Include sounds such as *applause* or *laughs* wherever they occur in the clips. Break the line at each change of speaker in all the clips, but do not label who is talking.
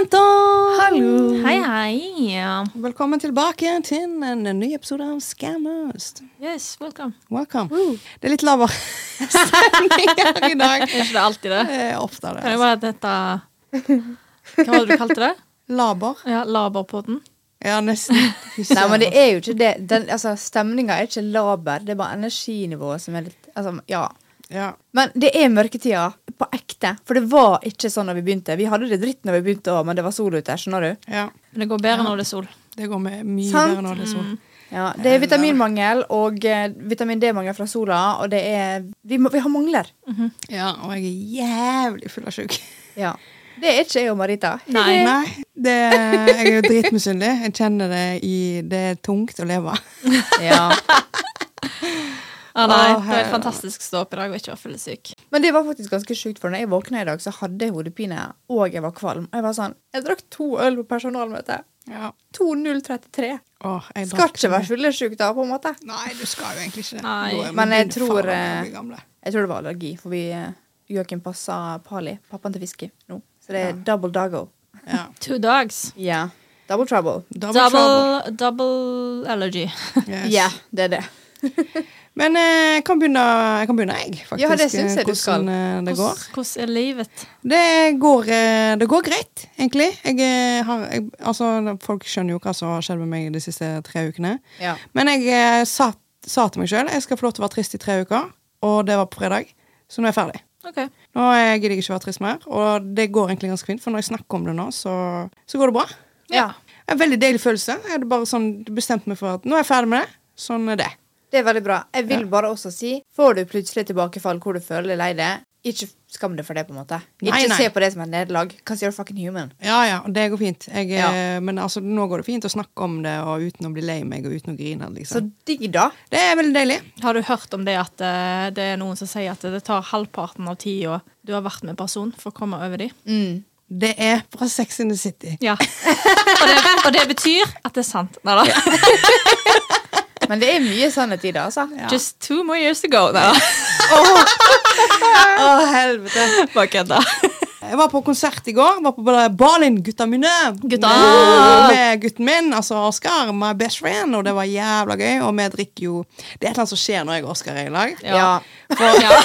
Anton!
Hallo!
Hei, hei.
Velkommen tilbake til en ny episode av Scammers.
Yes, welcome.
Welcome. Det er litt lavere stemninger i
*laughs*
dag.
Er ikke det alltid det?
Eh, Ofte er det.
Kan jeg
altså.
bare dette Hva var det du kalte det?
Laber.
*laughs* Ja, Laberpodden.
Ja, nesten.
*laughs* Nei, men det er jo ikke det. Den, altså, Stemninga er ikke laber. Det er bare energinivået som er litt altså, Ja.
Ja.
Men det er mørketida. På ekte. For det var ikke sånn da vi begynte. Vi hadde det dritt når vi begynte òg, men det var sol ute. Skjønner du?
ja.
Men det går bedre når det er sol.
Det går med mye
Sant. Mm.
bedre når det er sånn.
Ja, Det er vitaminmangel og eh, vitamin D-mangel fra sola, og det er Vi, må, vi har mangler.
Ja, og jeg er jævlig full av sjuk.
Ja. Det er ikke jeg og Marita. *laughs*
Nei.
Nei, det, jeg er jo dritmisunnelig. Jeg kjenner det i Det er tungt å leve.
Ja.
Ah, nei.
Å,
Det var
herre.
et fantastisk stå opp i dag og ikke være fyllesyk.
Men det var faktisk ganske sjukt, for når jeg våkna i dag, så hadde jeg hodepine, og jeg var kvalm. Og jeg var sånn Jeg drakk to øl på personalmøte.
Ja.
2033.
Åh, jeg
Skal
drakk
ikke være fyllesyk da, på en måte.
Nei, du skal jo egentlig ikke det.
Nei.
Da er vi
Men jeg
begynner
tror,
faen meg å
eh,
bli gamle.
Jeg tror det var allergi, for vi eh, Joakim passa Pali, pappaen til Fiske, nå. Så det er double doggo.
Ja.
Two dogs.
Ja. Double trouble.
Double, trouble.
Double, double allergy.
Yes.
Ja, det er det.
Men eh, jeg kan begynne, jeg, kan begynne, jeg faktisk.
Ja, det synes jeg
eh,
du skal.
hvordan, eh, det går.
Hvordan hvordan er livet?
Det går, eh, det går greit, egentlig. Jeg eh, har, jeg, altså, folk skjønner jo hva som har skjedd med meg de siste tre ukene.
Ja.
Men jeg eh, sa, sa til meg sjøl jeg skal få lov til å være trist i tre uker, og det var på fredag. Så nå er jeg ferdig.
OK.
Nå eh, gidder jeg ikke å være trist mer, og det går egentlig ganske fint, for når jeg snakker om det nå, så, så går det bra.
ja.
En veldig deilig følelse. Jeg hadde bare sånn bestemt meg for at nå er jeg ferdig med det. Sånn er det.
Det er veldig bra. Jeg vil bare også si, får du plutselig tilbakefall hvor du føler deg lei deg, ikke skam deg for det, på en måte. Ikke
Nei, nei.
se på det som et nederlag. Cause you're fucking human.
Ja, ja, det går fint. Jeg, eh,
Ja.
Men altså, nå går det fint å snakke om det og uten å bli lei meg og uten å grine.
Så
Liksom.
digg, da.
det er veldig deilig.
Har du hørt om det at eh, det er noen som sier at det tar halvparten av tida du har vært med en person, for å komme over dem?
Mm.
Det er fra Sex in the City.
Ja. *laughs* Og det, og det betyr at det er sant. Nei da.
Men det er mye sannhet i det, altså.
Just two more years to go. Nei da. *laughs*
Å, helvete.
Bare kødda.
Jeg var på konsert i går. Var på Balin, gutta mine.
Gutta!
Med, med gutten min, altså Oskar, my best friend, og det var jævla gøy. Og vi drikker jo Det er et eller annet som skjer når jeg og Oskar er i lag.
Ja.
Ja.
Ja. *laughs*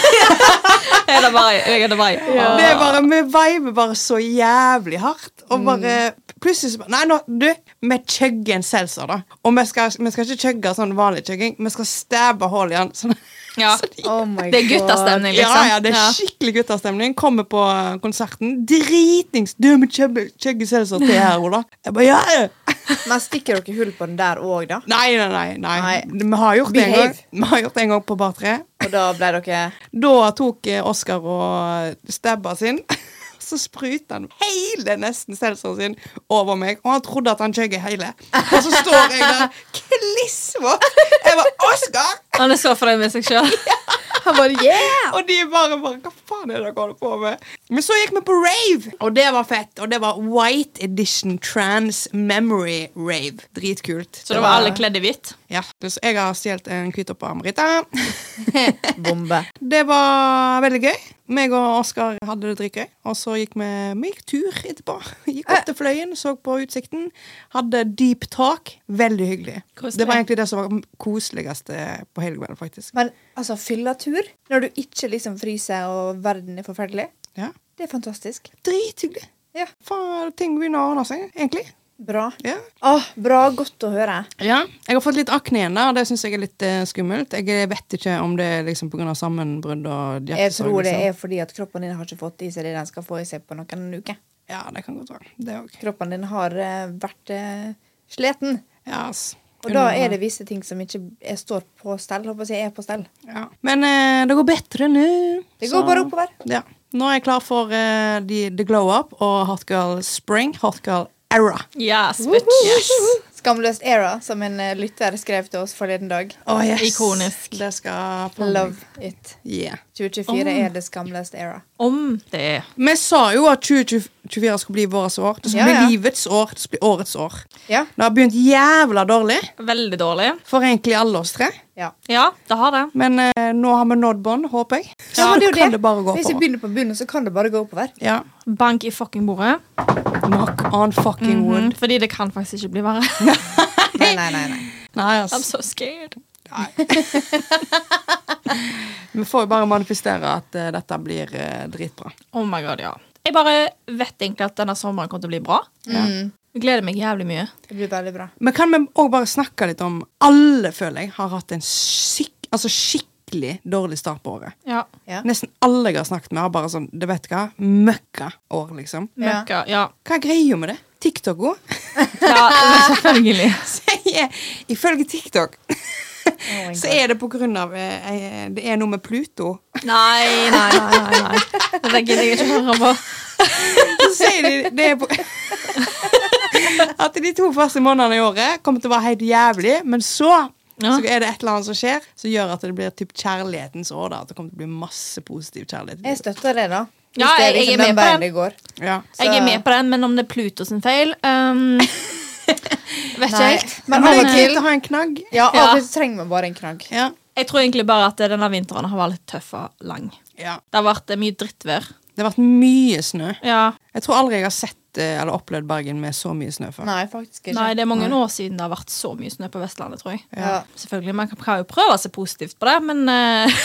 Jeg er bare, jeg er bare.
Det er bare, Vi viber bare så jævlig hardt. Og bare plutselig så bare- Nei, nå, du, vi chugger en seltzer, da. Og vi skal, vi skal ikke chugge sånn vanlig chugging, vi skal stabbe hull i den. Sånn, *laughs*
Ja.
Oh my
Det er
God.
guttastemning, liksom.
Ja, ja, det er skikkelig guttastemning. Kommer på eh, konserten, dritings. Du, vi chugger chugger seltzer til her, Ola. Jeg bare, ja, ja.
Men stikker dere hull på den der òg, da?
Nei, nei, nei. nei.
Nei.
Vi har gjort det en gang.
Behave.
Vi har gjort det en gang på Bar 3.
Og da ble dere
Da tok eh, Oskar og stabba sin. *laughs* Så spruta han hele nesten seltzeren sin over meg, og han trodde at han chugga hele. Og så står jeg der klissvåt. Jeg var Oskar!
Han er så fornøyd med seg sjøl.
Han bare yeah!
Og de bare bare Hva faen er det dere holder på med? Men så gikk vi på rave, og det var fett. Og det var White Edition Trans Memory Rave. Dritkult.
Så da var alle kledd i hvitt.
Ja. Så jeg har stjålet en hvitopp av Marita.
Bombe.
Det var veldig gøy. Meg og Oskar hadde det dritgøy. Og så gikk vi, vi gikk tur etterpå. *laughs* Gikk opp til Fløyen, så på utsikten. Hadde deep talk. Veldig hyggelig.
Koselig.
Det var egentlig det som var koseligste på hele kvelden, faktisk.
Men altså, fyllatur når du ikke liksom fryser og verden er forferdelig,
Ja.
det er fantastisk.
Drithyggelig.
Ja.
Faen, ting begynner å ordne seg, egentlig.
Bra.
Ja.
Åh, bra. Godt å høre.
Ja, Jeg har fått litt akne igjen, da, og det syns jeg er litt eh, skummelt. Jeg vet ikke om det er liksom pga. sammenbrudd og hjertesorg.
Jeg tror det
liksom.
er fordi at kroppen din har ikke fått i seg det den skal få i seg på noen uker.
Ja, det kan godt være. Det òg.
Kroppen din har eh, vært eh, sliten.
Ja, ass.
Og da er det visse ting som ikke er, står på stell. Håper jeg er på stell.
Ja. Men eh, det går bedre nå.
Det går
Sånn.
bare oppover.
Ja. Nå er jeg klar for eh, de- The Glow Up og Hot Girl Spring. Hot Girl Era.
Yes, bitch.
Skamløst era, som en eh, lytter skrev til oss forleden dag.
Oh, yes.
Ikonisk.
Det skal på meg.
Love it.
Yeah.
2024 er det skamløst era.
Om det er
Vi sa jo at 2024 skulle bli vårt år. Det skulle
Ja,
bli
ja.
livets år. Det skulle bli årets år.
Ja.
Det har begynt jævla dårlig
veldig dårlig.
for egentlig alle oss tre.
Ja.
Ja, det har det.
Men eh, nå har vi nådd bånd, håper jeg. Så
Ja, det er jo
kan
det.
det bare gå
Hvis vi
oppover.
begynner på bunnen, så kan det bare gå oppover.
Ja.
Bank i fucking bordet.
Knock on fucking
Mhm.
wood.
Mm, fordi det kan faktisk ikke bli verre.
Nei, nei, nei. *laughs* nei.
Nei, ass.
*laughs* I'm so scared.
Vi får jo bare manifestere at eh, dette blir eh, dritbra.
Oh my god, ja. Jeg bare vet egentlig at denne sommeren kommer til å bli bra. Jeg gleder meg jævlig mye.
Mm. Det blir veldig bra.
Men kan vi òg bare snakke litt om Alle, føler jeg, har hatt en skikk, altså skikkelig dårlig start på året.
Ja.
Ja.
Nesten alle jeg har snakket med, har bare sånn det vet du hva, møkka-år, liksom.
Ja.
Møkka. Ja.
Hva er greia med det? TikTok-o? *laughs*
*laughs* ja, selvfølgelig.
Altså, Ifølge TikTok
Oh my
så
God.
er det på grunn av eh, eh, Det er noe med Pluto.
Nei, nei, nei. nei, nei. Det gidder jeg ikke høre på.
Så sier de det er på At de to første månedene i året kommer til å være helt jævlig, men så
Ja.
Så er det et eller annet som skjer som gjør at det blir typ kjærlighetens år. da At det kommer til å bli masse positiv kjærlighet. i
Jeg støtter det, da. Hvis
Ja, jeg- jeg
det
er
liksom den
med på
veien
den.
det går.
livet. Ja.
Jeg er med på den, men om det er Pluto sin feil um, Vet ikke
Nei,
jeg.
men
Men
av
det
og
er
til
greit å ha en knagg.
Ja, av
Ja.
og til så trenger man bare en knagg.
Ja.
eh, Jeg tror egentlig bare at denne vinteren har vært litt tøff og lang.
ja.
Det har vært eh, mye drittvær.
Det har vært mye snø.
Ja.
Jeg tror aldri jeg har sett eh, eller opplevd Bergen med så mye snø før.
Nei, faktisk ikke.
Nei, det er mange år siden det har vært så mye snø på Vestlandet, tror jeg.
Ja.
Selvfølgelig, Man kan- kan jo prøve å se positivt på det, men eh,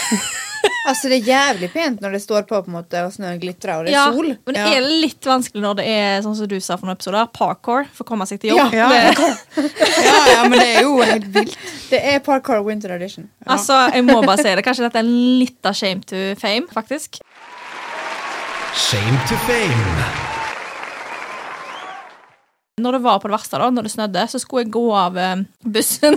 Altså, det er jævlig pent når det står på, på en måte, og snøen glitrer, og det er
ja,
sol.
Men det
Ja.
er litt vanskelig når det er sånn som du sa for noen episoder, parkour for å komme seg til jobb.
Ja, ja. ja, men det er jo helt vilt.
Det er Parkour Winter Edition.
Altså, jeg må bare si det. Kanskje dette er en lita shame to fame, faktisk.
Shame to fame.
Når det var på det verste, da, når det snødde, så skulle jeg gå av eh,
*laughs*
bussen.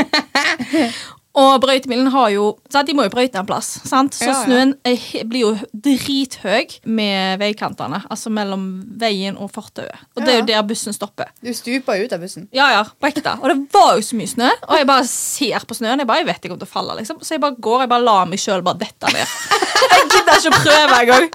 Og brøytemilen har jo sant? De må jo brøyte en plass, sant? så
Ja, ja.
snøen eh, he- blir jo drithøy med veikantene. Altså mellom veien og fortauet. Og det er jo der bussen stopper.
Du stuper jo ut av bussen.
Ja, ja, på ekte. Og det var jo så mye snø. Og jeg bare ser på snøen. Jeg bare, jeg vet jeg kommer til å falle, liksom. Så jeg bare går jeg bare lar meg sjøl bare
*laughs*
dette ned. Jeg gidder ikke å prøve engang.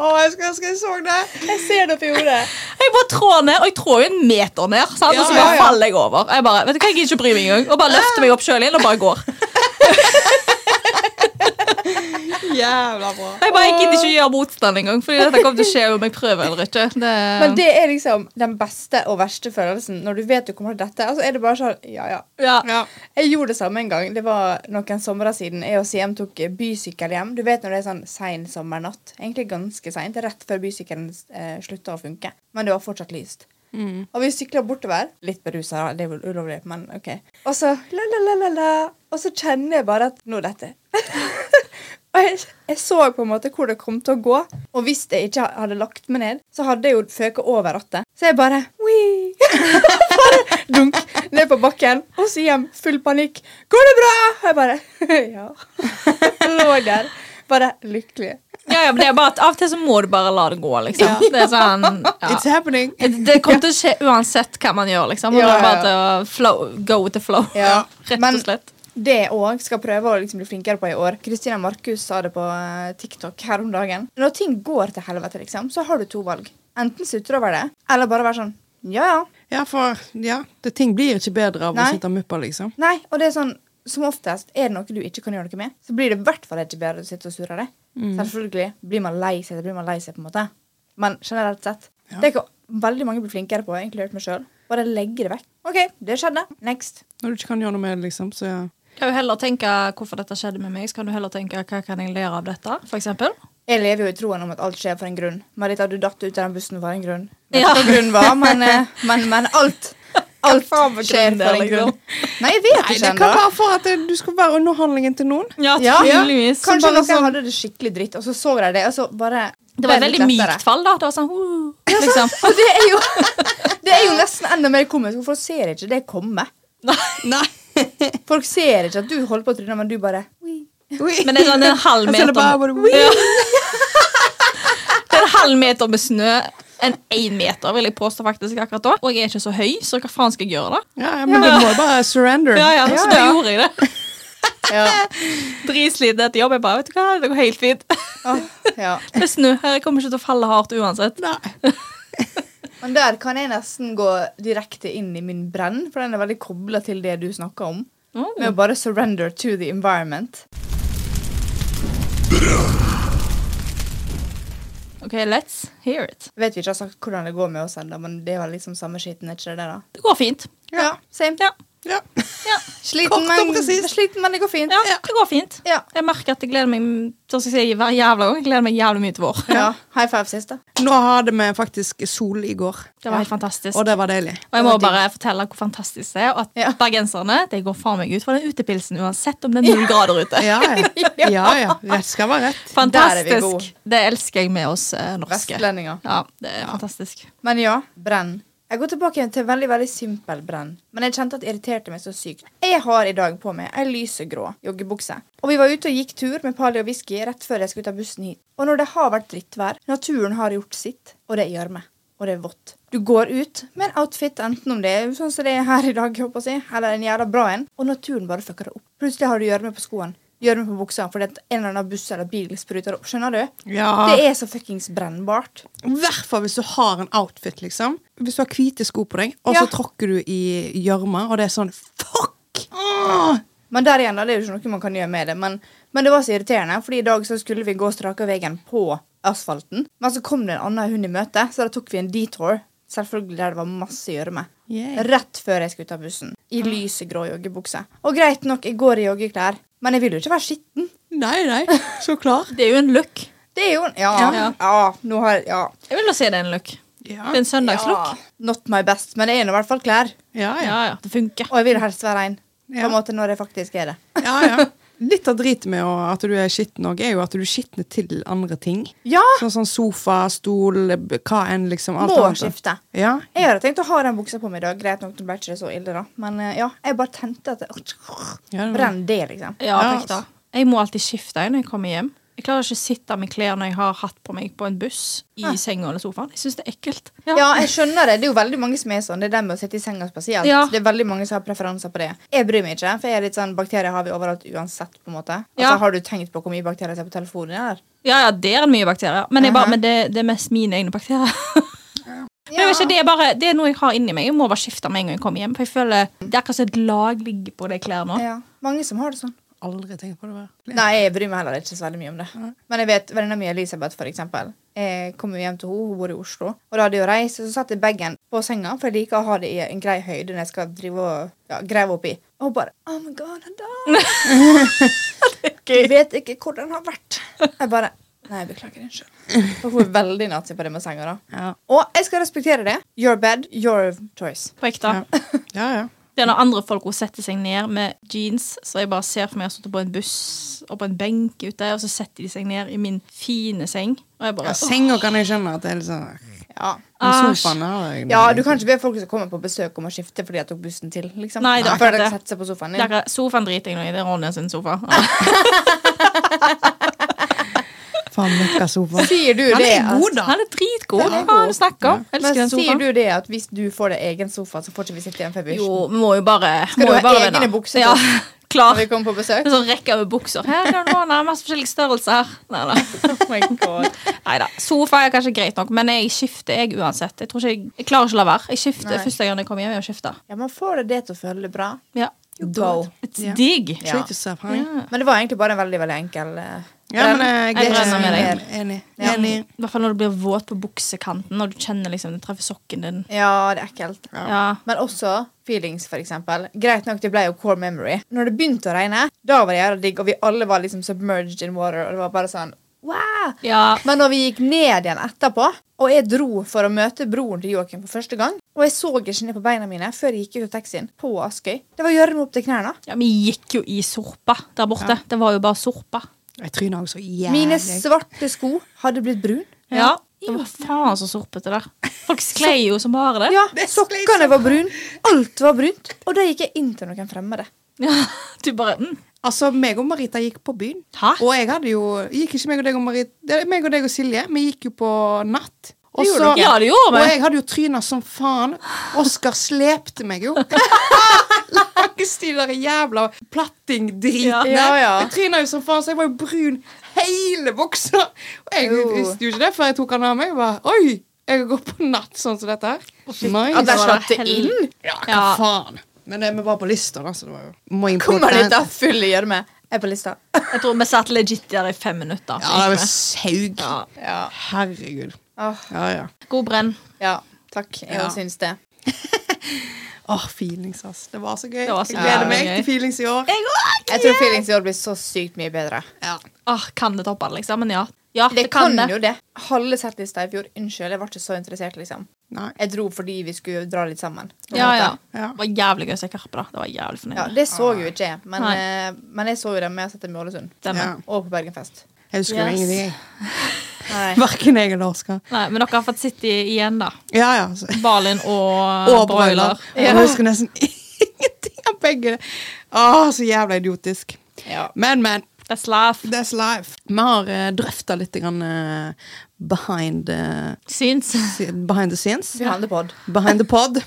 Å, jeg skulle ønske jeg så det.
Jeg ser det oppi hodet.
Jeg bare trår ned, og jeg trår jo en meter ned. Sant?
Ja,
og så bare
ja, ja.
faller jeg over. Jeg bare, vet du hva, jeg gidder ikke å bry meg engang. Og bare løfter meg opp sjøl igjen og bare går.
Jævla bra.
Jeg bare, jeg gidder ikke å gjøre motstand engang, Fordi dette kommer til å skje om jeg prøver eller ikke. Det...
Men det er liksom den beste og verste følelsen. Når du vet du kommer til dette, og så er det bare sånn Ja, ja.
ja.
Ja.
Jeg gjorde det samme en gang. Det var noen somre siden. Jeg og Siem tok bysykkel hjem. Du vet når det er sånn sein sommernatt. Egentlig ganske seint. Rett før bysykkelen eh, slutta å funke. Men det var fortsatt lyst. Og vi sykla bortover. Litt berusa, det er vel ulovlig, men OK. Og så la-la-la-la-la. Og så kjenner jeg bare at nå dette. *laughs* Og jeg, jeg så på en måte hvor det kom til å gå. Og hvis jeg ikke hadde lagt meg ned, så hadde jeg jo føket over rattet. Så jeg bare, «Wii!» bare dunk *laughs* ned på bakken, og så hjem. Full panikk. 'Går det bra?' Og jeg bare *laughs* Ja. Lå der. Bare lykkelig.
Ja, ja, men det er bare at av og til så må du bare la det gå, liksom. Det er sånn ja.
It's happening.
Det kommer til å skje uansett hva man gjør, liksom. Og
Ja,
det er bare
ja,
til å flow, go with the flow.
Ja.
*laughs* Rett
Men-
og slett.
Det jeg òg skal prøve å liksom bli flinkere på i år. Kristina Markus sa det på eh, TikTok her om dagen. Når ting går til helvete, liksom, så har du to valg. Enten sutre over det, eller bare være sånn Ja, ja.
Ja, for ja, det, ting blir ikke bedre av
Nei.
å sitte og muppe, liksom.
Nei, og det er sånn som oftest er det noe du ikke kan gjøre noe med, så blir det i hvert fall ikke bedre å sitte og surre det.
Mm.
Selvfølgelig blir man lei seg, så blir man lei seg på en måte. Men generelt sett. Det er ikke veldig mange blir flinkere på, inkludert meg sjøl. Bare legge det vekk. OK, det skjedde. Next.
Når du ikke kan gjøre noe med det, liksom. Så ja.
Kan du heller tenke hvorfor dette skjedde med meg, så kan du heller tenke hva kan jeg lære av dette, for eksempel.
Jeg lever jo i troen om at alt skjer for en grunn. Marita, du datt ut av den bussen for en grunn. Vet
Ja.
ikke hva grunnen var, men, eh, men, men
*laughs*
alt. Alt skjer
grunnen
for
er,
en grunn.
liksom?
Nei, jeg vet
Nei,
ikke
det kan
ennå.
være for at eh, du skal være underholdningen til noen.
Ja,
Ja,
tydeligvis.
Kanskje
bare
noen
sånn-
hadde det skikkelig dritt, og så så de det. Og så bare
Det var et
ble litt
veldig
lettere. sånn.
mykt fall, da. Det var sånn uh, liksom.
Og det er jo, *laughs* det er jo nesten enda mer komisk. Hvorfor ser ikke det komme?
Nei.
Folk ser ikke at du holder på å tryne, men du bare
Men det er sånn en halv
Jeg ser det
meter
bare, bare, wii.
Ja. *laughs* Det er en halv meter med snø. En én meter, vil jeg påstå faktisk akkurat da. Og jeg er ikke så høy, så hva faen skal jeg gjøre da?
Ja, ja, men du må bare surrender.
Ja, ja, så
Ja,
da
ja.
gjorde jeg det.
Ja.
*laughs* Dritsliten etter jobb. Jeg bare, vet du hva, det går helt fint. *laughs*
Åh, ja.
Det er snø her, jeg kommer ikke til å falle hardt uansett.
Nei.
Men der kan jeg nesten gå direkte inn i min brenn, for den er veldig kobla til det du snakker om.
Oh.
Med å bare surrender to the environment.
Ok, let's hear it.
Vet vi ikke altså hvordan det går med oss ennå, men det er vel liksom samme skitten, er ikke det det, da?
Det går fint.
Ja. same.
Ja,
Ja.
ja,
Sliten,
Kort og
men,
presist.
sliten, men det går fint.
ja, det går fint.
Ja.
Jeg merker at jeg gleder meg sånn som jeg sier hver jævla gang. Jeg gleder meg jævlig mye til vår.
Ja. High five sist, da.
Nå hadde vi faktisk sol i går,
Det var helt fantastisk.
og det var deilig.
Og jeg må bare fortelle hvor fantastisk det er. Og at
Ja.
bergenserne de går faen meg ut for den utepilsen uansett om det er null grader ute.
Ja ja. ja, ja. Rett skal være rett.
Der er vi
Fantastisk.
gode.
Det elsker jeg med oss eh, norske.
Vestlendinger.
Ja, det er fantastisk.
Men ja, brenn. Jeg går tilbake til veldig veldig simpel brenn, men jeg kjente at det irriterte meg så sykt. Jeg har i dag på meg ei lysegrå joggebukse. Og vi var ute og gikk tur med Pali og whisky rett før jeg skulle ta bussen hit. Og når det har vært drittvær, naturen har gjort sitt, og det gjør meg. Og det er vått. Du går ut med en outfit, enten om det er sånn som det er her i dag, jeg håper å si, eller en jævla bra en, og naturen bare fucker det opp. Plutselig har du gjørme på skoene, gjørme på buksa fordi at en eller annen buss eller bil spruter opp. Skjønner du?
Ja.
Det er så fuckings brennbart.
I hvert fall hvis du har en outfit, liksom. Hvis du har hvite sko på deg, og så
Ja.
tråkker du i gjørma, og det er sånn Fuck! Åh!
Men der igjen da, det er jo ikke noe man kan gjøre med det. Men, men det var så irriterende, Fordi i dag så skulle vi gå straka veien på asfalten. Men så kom det en annen hund i møte, så da tok vi en detour. Selvfølgelig der det var masse gjørme.
Yay.
Rett før jeg skulle ta bussen. I lysegrå joggebukse. Og greit nok, jeg går i joggeklær, men jeg vil jo ikke være skitten.
Nei, nei. Så klart.
Det er jo en look.
Det er jo Ja. ja.
Ja.
nå har jeg Ja.
Jeg vil jo si det er en look.
*laughs* Ja.
Det er en søndagslook.
ja. Not my best, men det er nå i hvert fall klær.
Ja,
Ja,
ja.
ja. Det funker.
Og jeg vil helst være en. På
Ja.
en måte når jeg faktisk er det.
ja, ja. Litt av driten med å- at du er skitten òg, er jo at du skitner til andre ting.
Ja!
Sånn som sofa, stol, b- hva enn, liksom. Alt
Må
annet.
skifte.
Ja.
Jeg hadde tenkt å ha den buksa på meg i dag. Greit nok, det ble ikke det så ille, da. Men eh, ja, jeg bare tenkte at det
Ja, det var-
Brenn det, liksom.
Ja,
Ja,
takk da. Jeg må alltid skifte når jeg kommer hjem. Jeg klarer ikke å sitte med klær når jeg har hatt på meg på en buss i senga eller sofaen. Jeg syns det er ekkelt.
Ja, jeg skjønner det. Det er jo veldig mange som er sånn. Det er det med å sitte i senga spesielt.
Ja.
Det er veldig mange som har preferanser på det. Jeg bryr meg ikke, for jeg er litt sånn bakterier har vi overalt uansett, på en måte. Altså,
Ja.
Har du tenkt på hvor mye bakterier som er på telefonen din? eller?
Ja, ja, det er mye bakterier. Men, jeg bare, men det, det er mest mine egne bakterier. *laughs* Men jeg vet ikke, det, er bare, det er noe jeg har inni meg. Jeg må bare skifte med en gang jeg kommer hjem. For jeg føler Det er akkurat som et lag ligger på de klærne.
Ja. Mange som har det sånn.
Aldri tenkt på det. Bare.
Nei, jeg bryr meg heller ikke så veldig mye om det. Men jeg vet, venninna mi Elisabeth, for eksempel. Jeg kom jo hjem til henne, hun bor i Oslo. Og da hadde jeg jo reist, så satte jeg bagen på senga, for jeg liker å ha det i en grei høyde når jeg skal drive og ja, grave oppi. Og hun bare Oh my god, han
*laughs*
da. Du vet ikke hvordan han har vært. Jeg bare Nei, jeg beklager unnskyld. For hun er veldig nazi på det med senga, da.
Ja.
Og jeg skal respektere det. Your bed, your choice.
På ekte.
Ja, ja.
Det er når andre folk også setter seg ned med jeans, så jeg bare ser for meg å sitte på en buss og på en benk ute, og så setter de seg ned i min fine seng. Og jeg bare
ja Senga kan jeg skjønne at det er litt sånn
Ja.
Men
Æsj.
sofaen har jeg
Ja, du kan ikke be folk som kommer på besøk om å skifte fordi jeg tok bussen til. liksom.
Nei, det er
Før
akkurat
de
det.
setter seg på sofaen
Det er
din.
akkurat- Sofaen driter jeg nå i. Det er Ronja sin sofa.
Faen, møkka sofa.
Sier du
Han
det
er god,
at,
da.
Han er dritgod.
Den er
Hva
god.
er det du snakker om?
men
Elsker den
sier
sofaen.
du det at hvis du får deg egen sofa, så får ikke vi sitte igjen før bussen?
Jo, vi må jo bare
Skal
må
du
jo
ha
bare
egne
vinne.
bukser
Ja,
på?
*laughs* klar.
Når vi kommer på besøk?
En sånn rekke med bukser. Her kan du ordne masse forskjellige størrelser. Nei *laughs* da.
Oh my god.
Sofa er kanskje greit nok, men jeg skifter jeg uansett. Jeg, tror ikke jeg, jeg klarer ikke å la være. Jeg skifter
Nei.
første gang jeg kommer hjem. Jeg skifter.
Ja, man får det det til å føle det bra.
Ja.
Go.
It's
Ja.
digg.
Ja.
Treat yourself, honey.
Men det var egentlig bare en veldig veldig enkel eh,
Ja, men eh, jeg
Jeg
er
brenner med deg.
enig. Enig.
Ja.
enig.
I hvert fall når du blir våt på buksekanten, når du kjenner liksom det treffer sokken din.
Ja, det er ekkelt.
Ja.
Men også feelings, for eksempel. Greit nok, det ble jo core memory. Når det begynte å regne, da var det jævla digg, og vi alle var liksom submerged in water, og det var bare sånn wow!
Ja.
Men når vi gikk ned igjen etterpå, og jeg dro for å møte broren til Joakim for første gang, og jeg så ikke ned på beina mine før jeg gikk ut av taxien på Askøy Det var gjørme opp til knærne.
ja, Vi gikk jo i sorpa der borte. Det var jo bare sorpa.
Jeg tryna også jævlig.
Mine svarte sko hadde blitt brun.
Ja. Det var faen så sorpete der. Folk *laughs* sklei jo som bare det.
Ja,
Det er så
Sokkene var brune. Alt var brunt. Og da gikk jeg inn til noen fremmede.
Ja, du bare mm.
Altså, meg og Marita gikk på byen.
Hæ?
Og jeg hadde jo Gikk ikke meg og deg og Marita det er Meg og deg og Silje, vi gikk jo på natt. Og
gjorde
så-
dere. Ja, det gjorde vi.
Og jeg hadde jo tryna som faen. Oskar slepte meg
*laughs*
jo. Langs de der jævla plattingdritene.
Ja, ja.
Jeg tryna jo som faen, så jeg var jo brun hele buksa. Og jeg
Jo.
visste jo ikke det før jeg tok han av meg. Jeg bare, Oi, jeg går på natt sånn som dette her. Nice.
At de
var
slapp det
hell-
inn?
Ja, hva
Ja.
faen. Men eh, vi var på lista, da, så det var jo Må inn på
Kommer
den-
dit av full gjørme. Er på lista.
Jeg tror vi satt legit der i fem minutter.
Ja, det var saug.
Ja.
Ja.
Herregud.
Åh,
Ja, ja.
God brenn.
ja. Takk. Jeg
Ja.
også syns det.
Åh, feelings, ass. Det var så gøy.
Det var så
jeg gleder
gøy.
meg
Gøy.
til feelings i år.
Jeg òg!
Jeg tror feelings i år blir så sykt mye bedre.
Ja.
Åh, kan det toppe det, liksom? Men ja. ja
Det kan jo det. Halve settlista i fjor. Unnskyld, jeg var ikke så interessert, liksom.
Nei.
Jeg dro fordi vi skulle dra litt sammen. på en
Ja,
måte.
ja.
Ja.
Det var jævlig gøy å se Karpe, da. Det var jævlig fornøyd.
Ja, det så jo ikke jeg, men,
Nei.
eh, men jeg så jo dem med å sette dem i Ålesund.
Stemmer.
Ja.
Og på Bergenfest.
Jeg husker jo
Yes.
ingenting, *laughs* jeg.
Nei.
Verken jeg eller Oskar.
Nei, men dere har fått sitte i- igjen, da.
Ja, ja. Så.
Balin
*laughs*
og,
Og broiler.
broiler.
Jeg husker nesten *laughs* ingenting av begge. Åh, så jævla idiotisk.
Ja.
Men, men.
That's life.
That's life. Vi har uh, drøfta litt grann, eh, behind, eh,
Syns.
si- behind the scenes.
Vi hadde pod.
Behind the pod.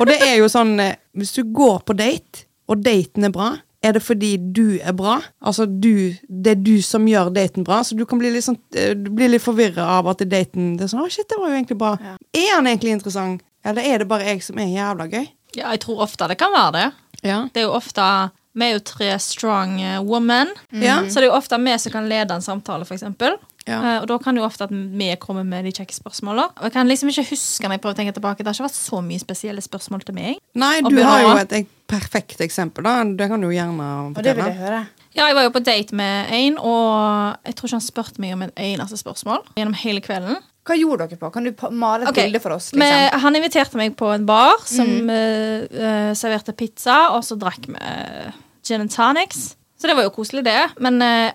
Og det er jo sånn eh, Hvis du går på date, og daten er bra, er det fordi du er bra? Altså du, det er du som gjør daten bra, så du kan bli litt, sånn, eh, du blir litt forvirra av at daten det er sånn, å shit, det var jo egentlig bra. Er han egentlig interessant, eller er det bare jeg som er jævla gøy?
Ja, jeg tror ofte det kan være det.
Ja.
Det er jo ofte Vi er jo tre strong eh, women,
Mm. Ja.
så det er jo ofte vi som kan lede en samtale, f.eks.
Ja.
Og da kan det jo ofte at vi kommer med de kjekke spørsmålene. Og jeg kan liksom ikke huske når jeg prøver å tenke tilbake, det har ikke vært så mye spesielle spørsmål til meg.
Nei,
Og
du
bra.
har jo et, ek- perfekt eksempel, da. Det kan du jo gjerne
Og det vil
fortelle.
jeg høre.
Ja, jeg var jo på date med en, og jeg tror ikke han spurte meg om et eneste spørsmål gjennom hele kvelden.
Hva gjorde dere på? Kan du pa- male et
Ok,
bilde for oss?
men
Liksom? Mm.
han inviterte meg på en bar som eh, eh, serverte pizza, og så drakk vi eh, gin and tonics. Så det var jo koselig, det. Men eh,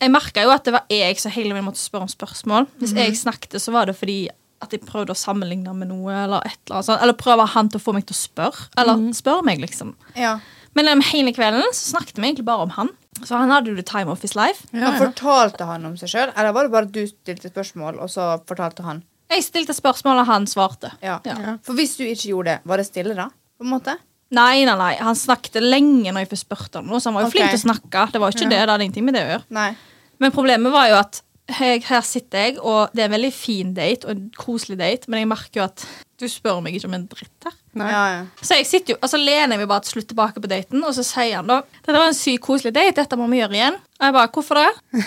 jeg merka jo at det var jeg som hele veien måtte spørre om spørsmål. Hvis
Mm.
jeg snakket, så var det fordi at jeg prøvde å sammenligne med noe, eller et eller annet sånt. Eller prøver han til å få meg til å spørre. Eller
Mm.
spør meg, liksom.
Ja.
Men eh, hele kvelden så snakket vi egentlig bare om han. Så han hadde jo the time of his life.
Men Fortalte han om seg sjøl, eller var det bare at du stilte spørsmål, og så fortalte han?
Jeg stilte spørsmål, og han svarte.
Ja.
Ja.
For hvis du ikke gjorde det, var det stille da? På en måte?
Nei, nei, nei. Han snakket lenge når jeg først spurte ham noe, så han var jo
Ok.
flink til å snakke. Det var jo ikke det, det hadde ingenting med det å gjøre.
Nei.
Men problemet var jo at jeg, her sitter jeg, og det er en veldig fin date og en koselig date, men jeg merker jo at du spør meg ikke om en dritt her.
Nei.
Ja, ja.
Så jeg sitter jo, altså lener jeg meg bare til slutt tilbake på daten, og så sier han da Dette var en sykt koselig date, dette må vi gjøre igjen. Og jeg bare Hvorfor det?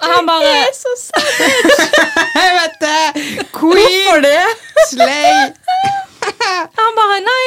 Og han bare
Jeg vet det! Queen! Slay!
Han bare Nei,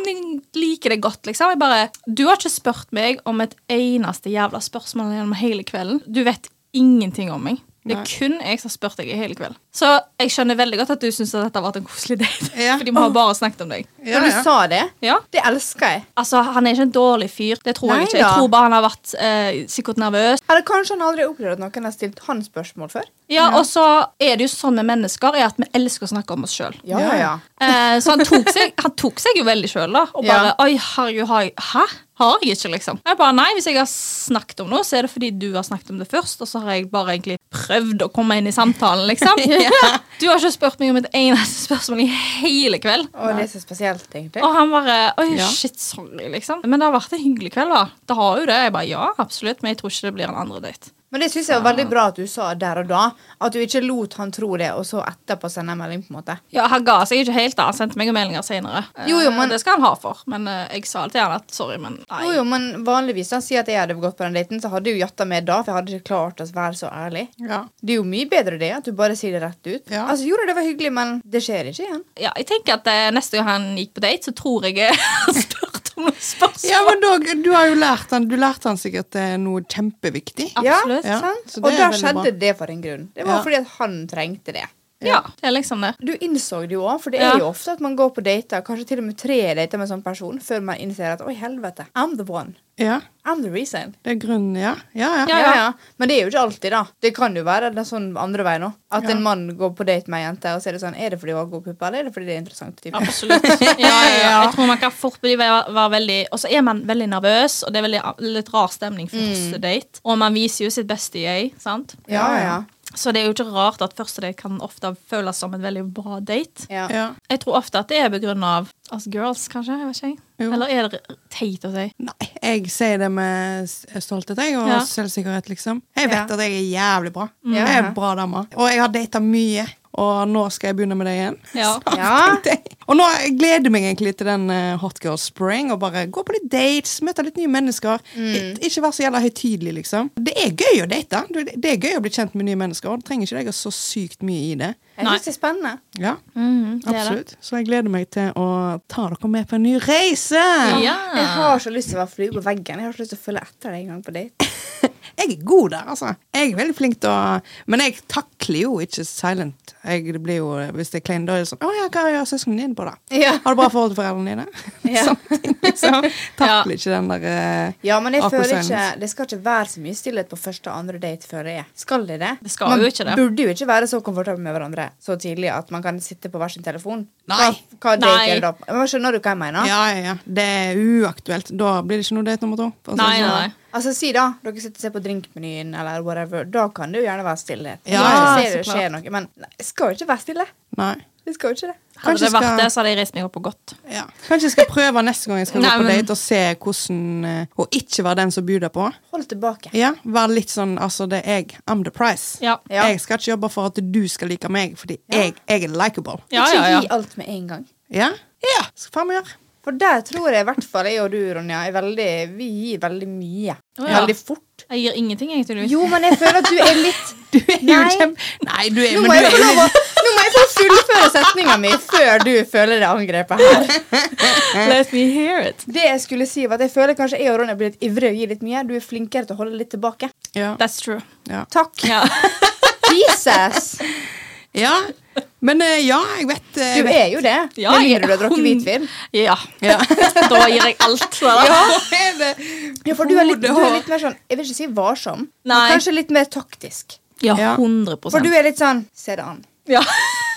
jeg liker det godt, liksom. Jeg bare Du har ikke spurt meg om et eneste jævla spørsmål gjennom hele kvelden. Du vet ingenting om meg. Det er
Nei.
kun jeg som har spurt deg i hele kveld. Så jeg skjønner veldig godt at du syns dette har vært en koselig date. *laughs*
Ja.
Fordi vi har bare snakket om deg.
Ja,
Når du
ja.
sa det,
Ja.
det elsker jeg.
Altså, Han er ikke en dårlig fyr. Det tror
Nei
jeg ikke. Jeg
da.
tror bare han har vært eh, sikkert nervøs.
Eller kanskje han aldri har opplevd at noen har stilt han spørsmål før?
Ja, Og så er det jo sånn med mennesker er at vi elsker å snakke om oss sjøl.
Ja, ja, ja.
Eh, så han tok, seg, han tok seg jo veldig sjøl, da. Og bare
Ja.
Oi, herregud, har jeg Hæ? Har jeg ikke, liksom? Jeg bare, nei, Hvis jeg har snakket om noe, så er det fordi du har snakket om det først, og så har jeg bare egentlig prøvd å komme inn i samtalen, *laughs* liksom. Du har ikke spurt meg om et eneste spørsmål i hele kveld.
Og det er så spesielt, egentlig.
Og han bare Oi,
Ja.
shit, sorry, liksom. Men det har vært en hyggelig kveld, da. Det har jo det. Jeg bare ja, absolutt, men jeg tror ikke det blir en andre date.
Men det syns jeg var veldig bra at du sa der og da. At du ikke lot han tro det, og så etterpå sende en melding. på en måte
Ja, Han ga seg ikke helt, da. Han sendte meg jo meldinger senere. Eh,
Jo, jo, men-
Det skal han ha for. Men eh, jeg sa til han at sorry, men nei.
Jo, jo, men vanligvis han sier at jeg hadde gått på den daten, så hadde jeg jo jatta med da, for jeg hadde ikke klart å være så ærlig.
Ja.
Det er jo mye bedre det, at du bare sier det rett ut.
Ja.
Altså, jo da, det var hyggelig, men det skjer ikke igjen.
Ja, jeg tenker at eh, Neste gang han gikk på date, så tror jeg *laughs* han spurte om noen spørsmål.
Ja, men dog, du har jo lært han Du lærte han sikkert eh, noe kjempeviktig.
Absolutt.
Ja,
Ja,
sant?
så det
Og
er
da
veldig
skjedde
bra.
det for en grunn. Det var
Ja.
fordi at han trengte det.
Ja, det er liksom det.
Du innså det jo òg, for det
Ja.
er jo ofte at man går på dater, kanskje til og med tre dater med en sånn person, før man innser at oi, helvete, I'm the one.
Ja,
I'm the reason.
det er grunnen, ja. Ja, ja.
Ja,
Ja,
ja.
ja. Men det er jo ikke alltid, da. Det kan jo være det er sånn andre veien òg. At en mann går på date med ei jente, og så er det sånn Er det fordi hun har god puppe, eller er det fordi det er interessant?
*laughs*
Typ?
Absolutt. Ja, ja, ja. Jeg tror man kan fort bli være, være veldig Og så er man veldig nervøs, og det er veldig litt rar stemning for første date. Og man viser jo sitt beste jeg, sant?
Ja, ja.
Så det er jo ikke rart at første date kan ofte føles som en veldig bra date.
ja.
ja.
Jeg tror ofte at det er begrunna av us girls, kanskje. Jeg vet ikke.
Jo.
jeg. Eller er det teit å si?
Nei, jeg sier det med s- eh, stolthet jeg, og
Ja. Mm.
selvsikkerhet, liksom. Jeg vet
Ja.
at jeg er jævlig bra.
Ja.
Jeg er en bra dame. Og jeg har data mye. og nå skal jeg begynne med det igjen. *laughs*
Ja. *laughs*
Snart,
Ja.
tenkte jeg. Og nå gleder jeg meg egentlig til den eh, Hot Girl Spring, og bare gå på litt dates, møte litt nye mennesker.
Mm.
Ik- Ikke være så jævla høytidelig, liksom. Det er gøy å date. Du, Det det er gøy å bli kjent med nye mennesker, og du trenger ikke legge så sykt mye i det.
Jeg
Nei.
synes det er spennende.
Ja,
Mhm, det er det.
absolutt. Så jeg gleder meg til å ta dere med på en ny reise.
Ja.
Jeg har så lyst til å være flue på veggen. Jeg har så lyst til å følge etter deg en gang på date.
*laughs* Jeg er god der, altså. Jeg er veldig flink til å Men jeg takler jo ikke silent. Jeg det blir jo, Hvis det er klein, da er det sånn 'Å ja, hva gjør søsknene dine på, da?'
Ja.
Har du bra forhold til foreldrene dine?
*laughs* Ja.
Samtidig
*laughs*
liksom. Takler
Ja.
ikke den der eh,
Ja, men jeg
awkward
føler ikke,
silence.
Det skal ikke være så mye stillhet på første og andre date før det er. Skal det det?
Det skal
man
jo ikke det.
burde jo ikke være så komfortabel med hverandre så tidlig at man kan sitte på hver sin telefon.
Nei.
Hva, hva date
Nei.
er det da? Men skjønner du hva jeg mener?
Ja, ja, ja. Det er uaktuelt. Da blir det ikke noe date nummer to. for å si det
Nei,
sånn.
nei, nei.
Altså, si da, dere sitter og ser på drinkmenyen eller whatever. Da kan det jo gjerne være stillhet.
Ja,
Kanskje
ja,
ser det
så
skjer noe, men nei, det skal jo ikke være stille.
Nei.
Det skal jo ikke det.
Hadde
Kanskje
det vært
skal-
det, så hadde jeg reist meg opp og gått.
Ja. Kanskje jeg skal prøve neste gang jeg skal gå
Nei,
på
men-
date, og se hvordan eh, Å ikke være den som byr på.
Hold tilbake.
Ja, Være litt sånn Altså, det er jeg. I'm the price.
Ja.
Ja.
Jeg skal ikke jobbe for at du skal like meg, fordi jeg, jeg er likeable.
Ja,
ikke
ja, ja.
gi alt med en gang.
Ja? Ja, skal faen meg gjøre.
For der tror jeg i hvert fall jeg og du, Ronja, er veldig, vi gir veldig mye.
Å, ja.
Veldig fort.
Jeg gir ingenting, jeg, tydeligvis.
Jo, men jeg føler at du er litt
Du er jo
*laughs* Nei.
kjempe... Nei, du er,
Nå
men du
må jeg
er
få
jo
lov å Nå må jeg få fullføre setninga mi før du føler deg angrepet her.
Let me hear it.
Det jeg skulle si var at jeg føler kanskje jeg og Ronja blir litt ivrige og gir litt mye. Du er flinkere til å holde litt tilbake.
ja.
That's true.
Ja.
Takk.
Ja.
Jesus.
ja. Men eh, ja, jeg vet eh,
Du
jeg
er jo det.
*laughs* Ja,
Med
jeg
mindre du har drukket
er-
hvitvin.
*laughs* ja.
Ja.
Da gir jeg alt. Så. da.
vet- er det.
Ja, for du er, litt,
Hodet
du er
og-
litt mer sånn Jeg vil ikke si varsom, men
Nei.
kanskje litt mer taktisk.
Ja,
Ja.
100
For du er litt sånn Se det an.
ja.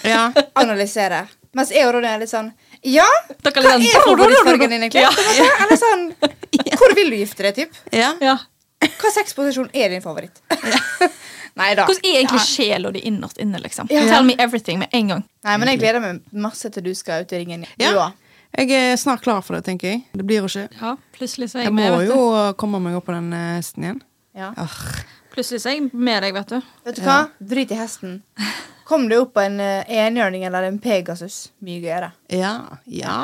Ja.
Analysere. Mens jeg og Ronja er litt sånn Ja, hva
Dere er litt
er
sånn-
favorittfargen din, egentlig?
Ja.
På en måte? Eller
*laughs*
sånn Hvor vil du gifte deg, typ?
ja.
Ja.
Hva sexposisjon er din favoritt? *laughs* Nei da.
Hvordan er egentlig sjela di innerst inne? liksom?
Ja.
Tell me everything med en gang.
Nei, men jeg gleder meg masse til du skal ut i ringen. Du
ja.
også.
Jeg er snart klar for det, tenker jeg. Det blir jo ikke.
Ja, Plutselig så er
Jeg
jeg
må
med. vet
jo
du.
komme meg opp på den eh, hesten igjen.
Ja.
Arr.
Plutselig så er jeg med deg, vet du.
Vet du hva? Drit i hesten. Kom deg opp på en eh, enhjørning eller en pegasus. Mye gøyere.
Ja. Ja.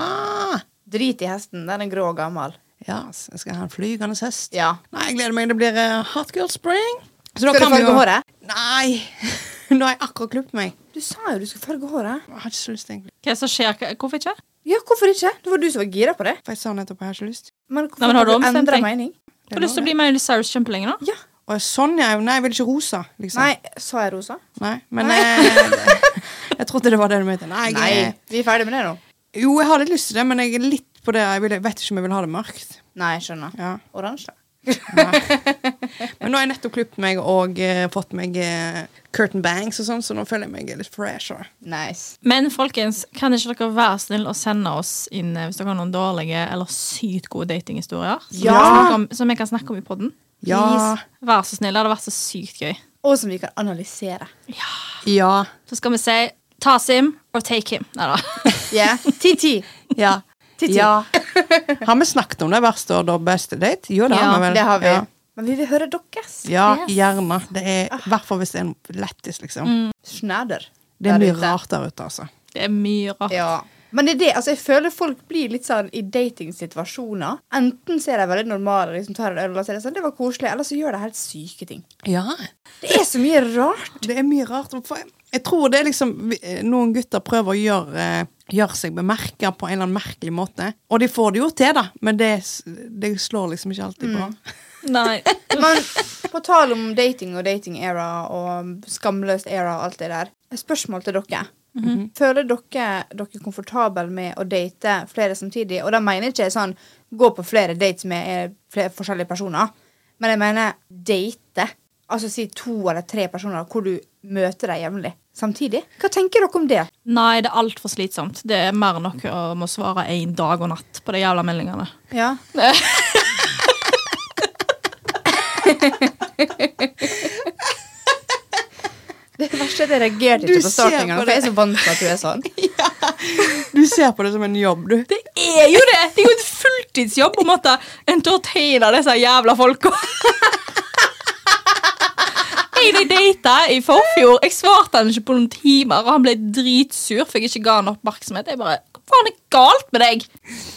Drit i hesten. Den er grå og gammel.
Ja, så jeg skal ha en flygende hest.
Ja.
Nei, jeg gleder meg. Det blir eh, Hot Girl Spring. Så da
Skal du
kan vi
farge
jo-
håret?
Nei. *laughs* Nå har jeg akkurat klippet meg.
Du sa jo du skulle farge håret.
Jeg har ikke så lyst, egentlig.
Hva er det som skjer? Hva- Hvorfor ikke?
Ja, hvorfor ikke? Det var du som var gira på det.
For jeg sa nettopp jeg har ikke lyst.
Men hvorfor
Nei, men har du ombestemt
endret
deg?
mening?
Du har lyst til å bli Miley Cyrus kjempelenge, da?
Ja.
Og sånn, ja. Nei, jeg vil ikke rosa, liksom.
Nei, sa jeg rosa?
Nei, men eh, *laughs* jeg trodde det var det du mente. Nei, jeg,
Vi er ferdig med det nå.
Jo, jeg har litt lyst til det, men jeg er litt på det. Jeg, vil, jeg vet ikke om jeg vil ha det mørkt.
Nei, skjønner.
Ja.
Oransje.
Men nå har jeg nettopp klippet meg og eh, fått meg eh, curtain bangs og sånn, så nå føler jeg meg litt fresh. Og.
Nice.
Men folkens, kan ikke dere være snill å sende oss inn eh, hvis dere har noen dårlige eller sykt gode datinghistorier? Som, vi kan
Ja.
snakke om, som jeg kan snakke om i podden?
Ja.
Vær så snill. Det hadde vært så sykt gøy.
Og som vi kan analysere.
Ja.
Så skal vi si ta Sim or take him. Nei da. *laughs*
Ja. *laughs* Ti-ti.
Ja. *laughs*
Titti.
Har vi snakket om det verste og det beste date? Jo, det
Ja,
har vi vel.
Det har vi.
Ja.
Men vi vil høre deres.
Ja,
Yes.
gjerne. Det er i hvert fall hvis det er en lættis, liksom.
Snæder.
Det er
der
mye
ute.
rart der ute, altså.
Det er mye rart.
Ja. Men det er det, altså jeg føler folk blir litt sånn i datingsituasjoner. Enten så er de veldig normale, liksom tar en øl og så er det sånn, det var koselig, eller så gjør de helt syke ting.
Ja.
Det er så mye rart.
Det er mye rart. For jeg- jeg tror det er liksom vi- eh, Noen gutter prøver å gjøre, eh, gjøre seg bemerka på en eller annen merkelig måte. Og de får det jo til, da, men det, s- det slår liksom ikke alltid bra.
Nei.
*laughs* Men på tale om dating og dating era og skamløst era og alt det der, et spørsmål til dere. Føler dere dere komfortable med å date flere samtidig? Og da mener jeg ikke sånn gå på flere dates med eh, flere forskjellige personer, men jeg mener date. Altså si to eller tre personer hvor du møter dem jevnlig samtidig. Hva tenker dere om det?
Nei, det er altfor slitsomt. Det er mer enn nok å må svare én dag og natt på de jævla meldingene.
Ja. Det verste er at jeg reagerte
Du
ikke på
ser på
startingen, for jeg er så vant til at du er sånn.
*laughs* Du ser på det som en jobb, du.
Det er jo det! Det er jo et fulltidsjobb å måtte entertaine disse jævla folka. Er de data i forfjor. Jeg svarte han ikke på noen timer, og han ble dritsur for jeg ikke ga han oppmerksomhet. Jeg bare, Hva faen er galt med deg?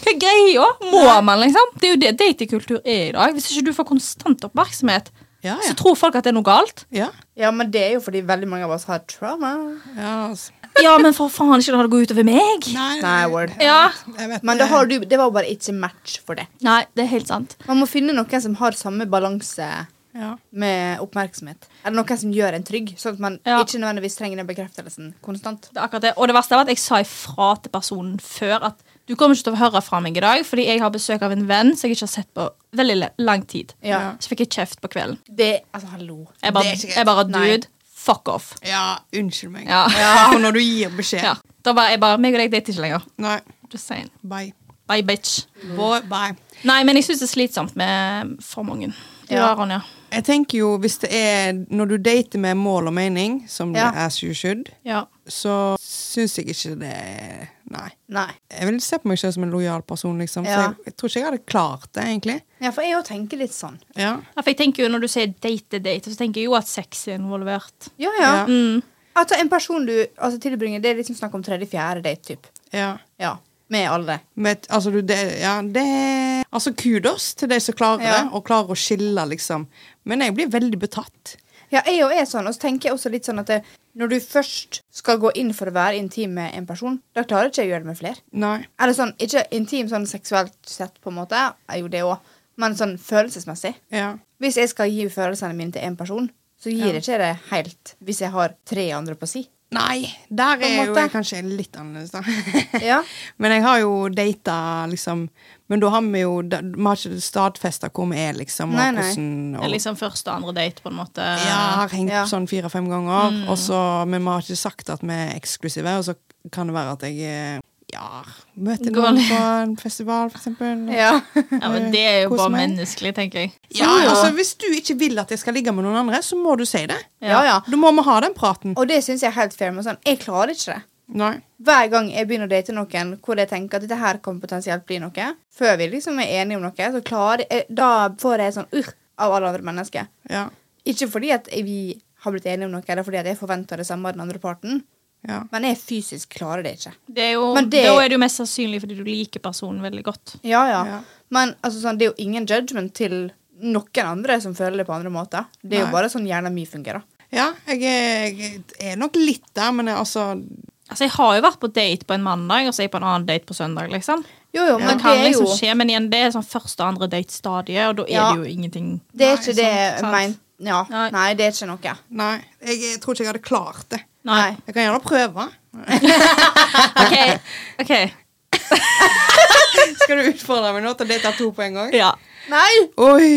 Hva er greia? Må man, liksom? Det er jo det datingkultur er i dag. Hvis ikke du får konstant oppmerksomhet,
Ja, ja.
så tror folk at det er noe galt.
Ja.
Ja, men det er jo fordi veldig mange av oss har trauma.
ja altså.
Ja, men for faen, ikke la det gå utover meg.
Nei,
Nei, word.
Ja.
Jeg vet
Men det, har du, det var jo bare ikke match for det.
Nei, det er helt sant.
Man må finne noen som har samme balanse
Ja.
med oppmerksomhet. Eller noen som gjør en trygg, sånn at man
Ja.
ikke nødvendigvis trenger den bekreftelsen konstant.
Det er akkurat det. Og det verste var at jeg sa ifra til personen før at du kommer ikke til å høre fra meg i dag, fordi jeg har besøk av en venn som jeg ikke har sett på veldig le- lang tid.
Ja.
Så fikk jeg kjeft på kvelden.
Det, altså, hallo.
Jeg bare,
Det er ikke greit.
jeg bare
Nei.
dude, fuck off.
ja, unnskyld meg.
Ja.
For når du gir beskjed.
Ja. Da var jeg bare meg og deg dater ikke lenger.
Nei,
Just saying.
bye.
Bye, bitch.
Bye, bye.
Nei, men jeg syns det er slitsomt med for mange. Du
Ja.
har Ronja.
Jeg tenker jo, hvis det er Når du dater med mål og mening, som
Ja.
det er as you should,
Ja.
så syns jeg ikke det er- Nei.
Nei.
Jeg vil se på meg selv som en lojal person, liksom. Så
Ja.
jeg, jeg tror ikke jeg hadde klart det, egentlig.
Ja, for jeg òg tenker litt sånn.
Ja.
Ja, For jeg tenker jo Når du sier date-date, så tenker jeg jo at sex er involvert.
Ja, ja.
Ja.
Mm.
Altså, en person du altså, tilbringer, det er liksom snakk om tredje-fjerde date, typ.
ja.
Ja. Med alle.
Men, altså, du, det, ja, det Altså, kudos til de som klarer
Ja.
det, og klarer å skille, liksom. Men jeg blir veldig betatt.
Ja, jeg òg er sånn. Og så tenker jeg også litt sånn at det, når du først skal gå inn for å være intim med en person, da klarer ikke jeg å gjøre det med flere.
Nei.
Eller sånn, ikke intim sånn seksuelt sett, på en måte. Jeg gjorde det òg. Men sånn følelsesmessig.
Ja.
Hvis jeg skal gi følelsene mine til én person, så gir jeg ikke det helt hvis jeg har tre andre på si.
Nei, der
På en
er jo
måte.
jeg kanskje litt annerledes, da. *laughs*
Ja.
Men jeg har jo data, liksom. Men da har vi jo da- Vi har ikke stadfesta hvor vi er, liksom. Og
Nei, nei.
hvordan
Det
og,
er liksom første og andre date, på en måte.
Ja, jeg har hengt
Ja.
opp sånn fire-fem ganger. Og så, men vi har ikke sagt at vi er eksklusive, og så kan det være at jeg eh, ja, møter
Går
noen
litt-
på en festival, for eksempel.
ja.
Ja, men Det er jo
Kos
bare
meg.
menneskelig, tenker jeg.
Ja, altså Hvis du ikke vil at jeg skal ligge med noen andre, så må du si det.
ja, ja.
Da må vi ha den praten.
*laughs* Og det syns jeg er helt fair. Men sånn, jeg klarer ikke det.
Nei.
Hver gang jeg begynner å date noen hvor jeg tenker at dette her kan potensielt bli noe, før vi liksom er enige om noe, så klarer jeg, da får jeg sånn urr av alle andre mennesker.
Ja.
Ikke fordi at vi har blitt enige om noe, eller fordi at jeg forventer det samme av den andre parten,
Ja.
men jeg fysisk klarer det ikke.
Det er jo,
Men det-
Da er det jo mest sannsynlig fordi du liker personen veldig godt.
Ja, ja.
Ja.
Men altså, sånn, det er jo ingen judgment til noen andre som føler det på andre måter. Det er
Nei.
jo bare sånn hjernen min fungerer.
ja jeg, er, jeg er nok litt der, men jeg, altså
Altså, Jeg har jo vært på date på en mandag og så er jeg på en annen date på søndag. liksom.
Jo, jo,
Det
men det
kan
er jo
liksom skje, men igjen, det er sånn første og andre date-stadie, og da er
Ja.
det jo ingenting
Det er
Nei,
ikke
sant,
det jeg
sant.
mente. Ja.
sånn, Nei.
Nei, det er ikke noe.
Nei. Jeg, jeg tror ikke jeg hadde klart det.
Nei.
Jeg kan gjerne prøve.
OK.
*laughs*
ok.
Skal du utfordre meg nå til å date to på en gang?
Ja.
Nei!
Oi.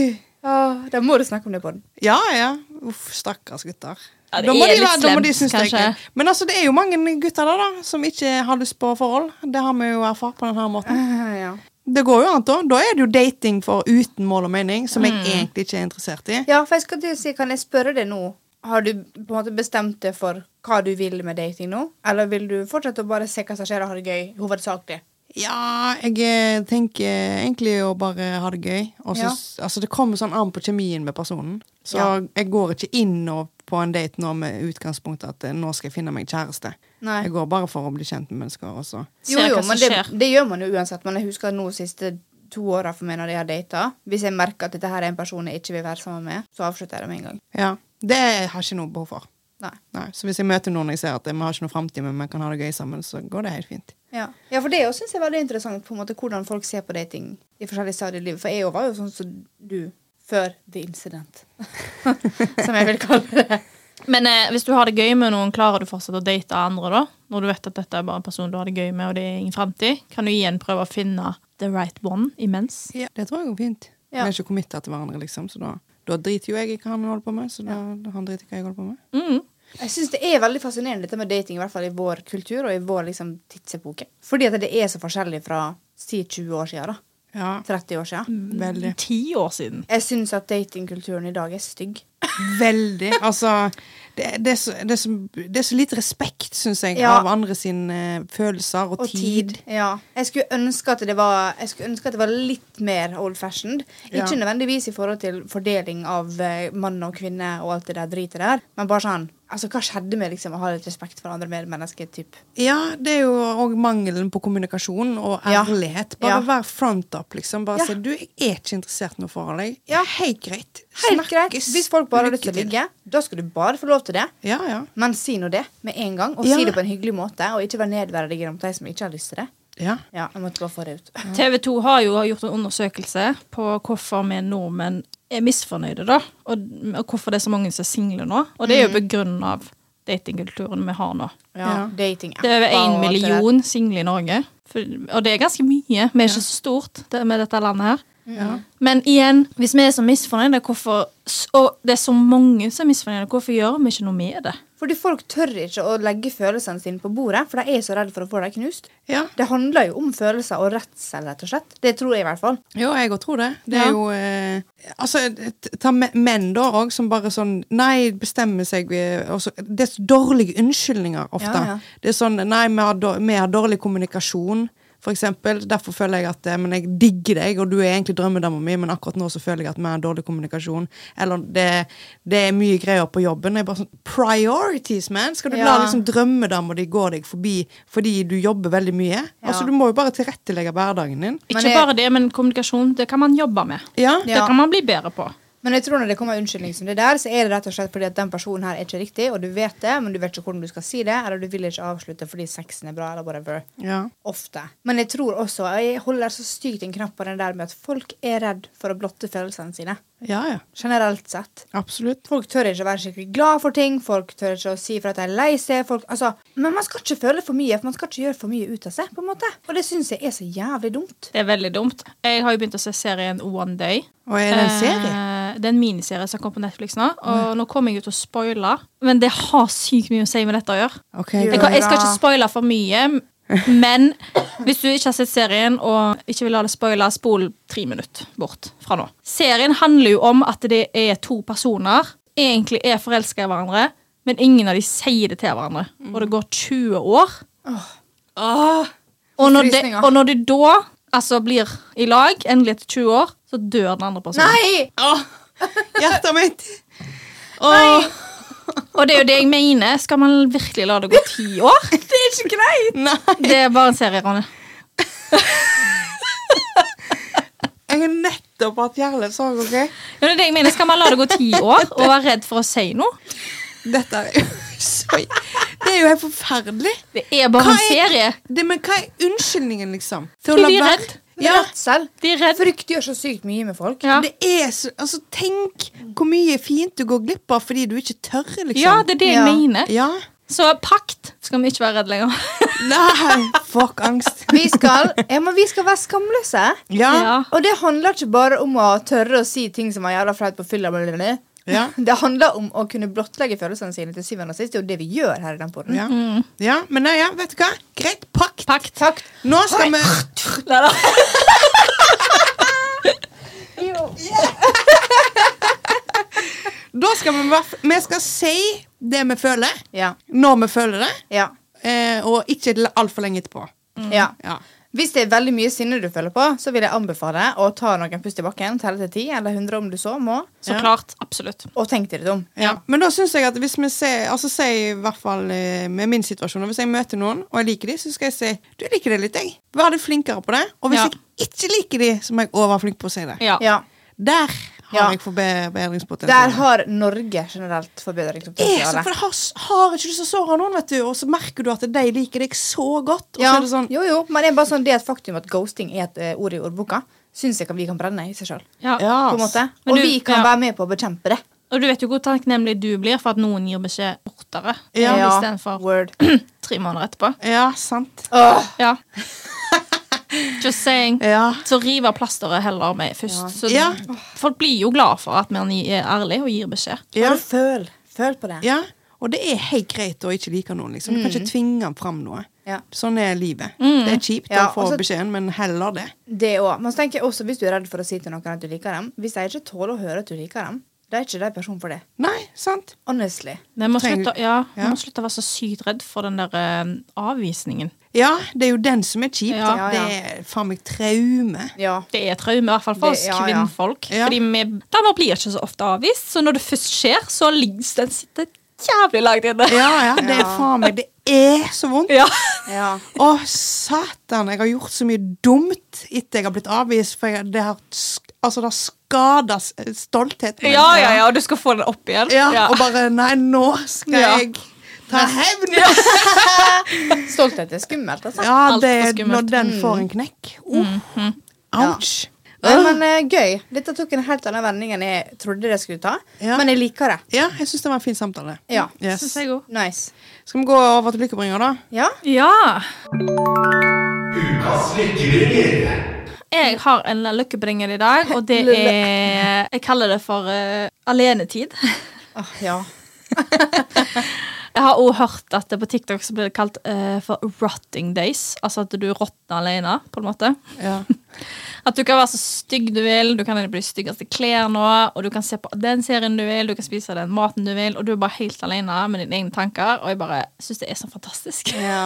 Åh, da må du snakke om det på den.
Ja, ja. Uff, stakkars gutter.
Ja, det
da må
er
de,
litt
være- da må de
slemt,
synes det er
kanskje.
gøy. Men altså, det er jo mange gutter der da, som ikke har lyst på forhold. Det har vi jo erfart på denne måten.
*laughs* ja.
Det går jo an, da. Da er det jo dating for uten mål og mening, som
Mm.
jeg egentlig ikke er interessert i.
ja, for jeg skal til å si, kan jeg spørre deg nå? Har du på en måte bestemt deg for hva du vil med dating nå? Eller vil du fortsette å bare se hva som skjer og ha det gøy, hovedsakelig?
Ja, jeg eh, tenker egentlig å bare ha det gøy. Og så, altså, det kommer sånn an på kjemien med personen. Så
Ja.
jeg går ikke inn nå på en date nå med utgangspunktet at eh, nå skal jeg finne meg kjæreste.
Nei.
Jeg går bare for å bli kjent med mennesker også.
Ser hva som
men det,
skjer.
det gjør man jo uansett. Men jeg husker nå siste to åra for meg når jeg har data. Hvis jeg merker at dette her er en person jeg ikke vil være sammen med, så avslutter jeg det med en gang.
Ja, Det har jeg ikke noe behov for.
Nei.
Nei, så hvis jeg møter noen og jeg ser at vi har ikke noe framtid, men vi kan ha det gøy sammen, så går det helt fint.
Ja, ja for det er jo, synes jeg er veldig interessant på en måte hvordan folk ser på dating i forskjellige stadier i livet. For jeg jo var jo sånn som du før the incident, *laughs* som jeg vil kalle det.
Men eh, hvis du har det gøy med noen, klarer du fortsatt å date andre da? Når du vet at dette er bare en person du har det gøy med, og det er ingen framtid? Kan du igjen prøve å finne the right one imens?
Det tror jeg går fint. Vi
Ja.
er ikke committa til hverandre, liksom, så da, da driter jo jeg i hva han holder på med. Så da, da han driter i hva jeg holder på med.
Mm.
Jeg synes det er veldig fascinerende dette med dating, i hvert fall i vår kultur og i vår liksom, tidsepoke. Fordi at det er så forskjellig fra si 20 år siden, da.
Ja,
30 år siden.
veldig.
Ti år siden.
Jeg synes at datingkulturen i dag er stygg.
Veldig. Altså, det, det, er så, det, er så, det er så lite respekt, syns jeg,
Ja.
av andre sine eh, følelser og,
Og
tid.
tid. Ja. Jeg skulle ønske at det var, jeg skulle ønske at det var litt mer old fashioned.
Ja.
Ikke nødvendigvis i forhold til fordeling av eh, mann og kvinne og alt det der dritet der, men bare sånn Altså, hva skjedde med liksom å ha litt respekt for andre medmennesker? Typ?
Ja, det er jo òg mangelen på kommunikasjon og
Ja.
ærlighet. Bare
Ja.
vær front up, liksom. Bare
Ja.
si 'du, jeg er ikke interessert i noe forhold, jeg'.
Ja.
Helt greit.
Helt greit.
Snakkes.
Hvis folk bare har lyst til å
Lykke
ligge, da skal du bare få lov til det.
Ja, ja.
Men si nå det med en gang, og
Ja.
si det på en hyggelig måte. Og ikke være nedverdigende mot de som ikke har lyst til det.
ja.
Ja, jeg måtte bare få det ut.
TV 2 har jo gjort en undersøkelse på hvorfor vi nordmenn er misfornøyde, da. Og, og hvorfor det er så mange som er single nå. Og det er jo
Mm.
begrunna av datingkulturen vi har nå.
Ja,
Ja.
dating
Det er over én
og alt det der.
million single i Norge. For, og det er ganske mye. Vi er ikke så stort det, med dette landet her. Men igjen, hvis vi er så misfornøyde, hvorfor, og det er så mange som er misfornøyde, hvorfor gjør vi ikke noe med det?
Fordi folk tør ikke å legge følelsene sine på bordet, for de er så redd for å få dem knust.
Ja.
Det handler jo om følelser og redsel, rett og slett. Det tror jeg i hvert fall.
Jo, jeg òg tror det. Det
Ja.
er jo eh, Altså, t- ta me- menn da òg, som bare sånn Nei, bestemmer seg eh, og så- Det er så dårlige unnskyldninger ofte.
Ja, ja.
Det er sånn Nei, vi har, dår- vi har dårlig kommunikasjon, for eksempel. Derfor føler jeg at eh, Men jeg digger deg, og du er egentlig drømmedama mi, men akkurat nå så føler jeg at vi har dårlig kommunikasjon. Eller det, det er mye greier på jobben. Jeg er bare sånn Priorities, man! Skal du la
Ja.
liksom drømmedama di gå deg forbi fordi du jobber veldig mye?
Ja.
Altså, du må jo bare tilrettelegge hverdagen din.
Ikke
Men jeg-
bare det, men kommunikasjon. Det kan man jobbe med.
Ja.
Det kan man bli bedre på.
Men jeg tror når det kommer en unnskyldning som det der, så er det rett og slett fordi at den personen her er ikke riktig, og du vet det, men du vet ikke hvordan du skal si det, eller du vil ikke avslutte fordi sexen er bra, eller whatever.
Ja.
Ofte. Men jeg tror også, og jeg holder så sykt en knapp på den der med at folk er redd for å blotte følelsene sine.
Ja, ja.
Generelt sett.
Absolutt.
Folk tør ikke å være skikkelig glad for ting. Folk tør ikke å si for at de er lei seg. Folk, altså, men man skal ikke føle for mye, for man skal ikke gjøre for mye ut av seg. på en måte. Og det syns jeg er så jævlig dumt.
Det er veldig dumt. Jeg har jo begynt å se serien One Day.
Og er det en serie?
Eh, det er en miniserie som kommer på Netflix nå. Og nå kommer jeg jo til å spoile, men det har sykt mye å si med dette å gjøre.
Ok,
Jeg, kan, jeg skal ikke spoile for mye, men hvis du ikke har sett serien og ikke vil ha det spoila, spol tre minutter bort fra nå. Serien handler jo om at det er to personer egentlig er forelska i hverandre, men ingen av de sier det til hverandre.
Mm.
Og det går 20 år. Og når, det,
Frysninger.
og når de da altså, blir i lag, endelig etter 20 år, så dør den andre personen.
Nei!
*laughs* Hjertet mitt!
Og det er jo det jeg mener. Skal man virkelig la det gå ti år?
Det er ikke greit!
*laughs*
Nei.
Det er bare en serie, Ronny.
Jeg har nettopp hatt hjernesorg, OK?
Ja, det er det jeg mener. Skal man la det gå ti år og være redd for å si noe?
Dette er jo så Det er jo helt forferdelig.
Det er bare
Hva
en
er-
serie.
Det, men hva er unnskyldningen, liksom? Til
Fordi de er
være-
redd.
Ja.
Redsel.
De er redd.
Frykt gjør så sykt mye med folk.
Ja.
Det er så Altså, tenk hvor mye fint du går glipp av fordi du ikke tør, liksom.
ja, det er det jeg
Ja.
mener.
Ja.
Så pakt skal vi ikke være redd lenger.
Nei, fuck angst.
Vi skal, ja, men vi skal være skamløse.
Ja.
*laughs* Ja.
Og det handler ikke bare om å tørre å si ting som er jævla flaut på fylla. blablabla.
Ja.
*laughs* Det handler om å kunne blottlegge følelsene sine til syvende og sist. Det er jo det vi gjør her i den podden.
Ja. ja. Men nei, ja, vet du hva? Greit, pakt.
Pakt.
Nå skal vi
Neida.
Da skal vi, i hvert fall- vi skal si det vi føler,
Ja.
når vi føler det,
Ja.
eh, og ikke altfor lenge etterpå.
ja.
Ja.
Hvis det er veldig mye sinne du føler på, så vil jeg anbefale å ta noen pust i bakken, telle til ti, eller hundre om du så må,
Så
Ja.
klart. Absolutt.
og tenk deg litt om.
Ja. Men da syns jeg at hvis vi ser Altså si i hvert fall eh, med min situasjon Hvis jeg møter noen og jeg liker dem, så skal jeg si Du jeg liker det litt, jeg. Vær litt flinkere på det. Og hvis
Ja.
jeg ikke liker dem, så må jeg også være flink på å si det.
Ja.
Ja.
Der har
Ja.
jeg forbedringspotensial.
Der har Norge generelt
Det er Eh, så, for
forbedringspotensial.
det har, har ikke du så såra noen, vet du, og så merker du at de liker deg så godt. Og
Ja.
så er det sånn
Jo, jo, men det er bare sånn det er et faktum at ghosting er et eh, ord i ordboka, syns jeg at vi kan brenne i seg sjøl.
Ja.
Ja.
Og
Men du-
vi kan
ja.
være med på å bekjempe det.
Og du vet jo hvor takknemlig du blir for at noen gir beskjed fortere
Ja.
eh, istedenfor
Word.
tre måneder etterpå.
Ja, sant.
Åh,
*laughs*
Ja. Just saying.
Ja.
Så river plasteret heller med først. Så
Ja.
Folk blir jo glad for at man er ærlig og gir beskjed.
Ja.
Bare føl. Føl på det.
Ja, og det er helt greit å ikke like noen. Liksom. Du kan ikke tvinge fram noe.
Ja.
Sånn er livet. Det er kjipt
Ja,
å få
og så-
beskjeden, men heller det.
Det også. Men så tenker jeg også, hvis du er redd for å si til noen at du liker dem Hvis de ikke tåler å høre at du liker dem, Da er ikke de person for det.
Nei, sant?
Honestly.
Vi må,
Trenger-
slutte, ja,
Ja.
vi må slutte å være så sykt redd for den der eh, avvisningen.
Ja, det er jo den som er kjipt.
Ja.
da. Det er faen meg traume.
Ja.
Det er traume, i hvert fall for
Det-
oss
ja, ja.
kvinnfolk.
Ja.
Fordi vi damer blir ikke så ofte avvist, så når det først skjer, så ligger den sitter jævlig langt inne.
Ja, ja, *laughs* det er
Ja.
faen meg Det er så vondt.
*laughs* Ja.
ja.
Å, satan, jeg har gjort så mye dumt etter jeg har blitt avvist, for jeg, det har sk- altså, det har skada stoltheten min.
ja, ja, ja, og du skal få den opp igjen.
Ja, Og bare Nei, nå skal
Ja.
jeg ta hevn!
Stolthet er skummelt, altså.
Ja,
Alt for
det er
skummelt.
når den får en knekk. Uh, ouch.
Nei, men eh, gøy. Dette tok en helt annen vending enn jeg trodde det skulle ta.
Ja.
Men jeg liker det.
Ja, jeg syns det var en fin samtale.
Ja.
Yes.
Synes jeg også.
Nice.
Skal vi gå over til lykkebringer, da?
Ja.
Ja.
Ukas lykkebringer.
Jeg har en lykkebringer i dag, og det er Jeg kaller det for eh, alenetid. *laughs*
Åh, Ah, ja.
Jeg har òg hørt at det på TikTok så blir det kalt eh, for rotting days. Altså at du råtner alene, på en måte.
Ja.
At du kan være så stygg du vil, du kan bli styggeste klær nå, og du kan se på den serien du vil, du kan spise den maten du vil, og du er bare helt alene med dine egne tanker, og jeg bare syns det er så fantastisk.
ja.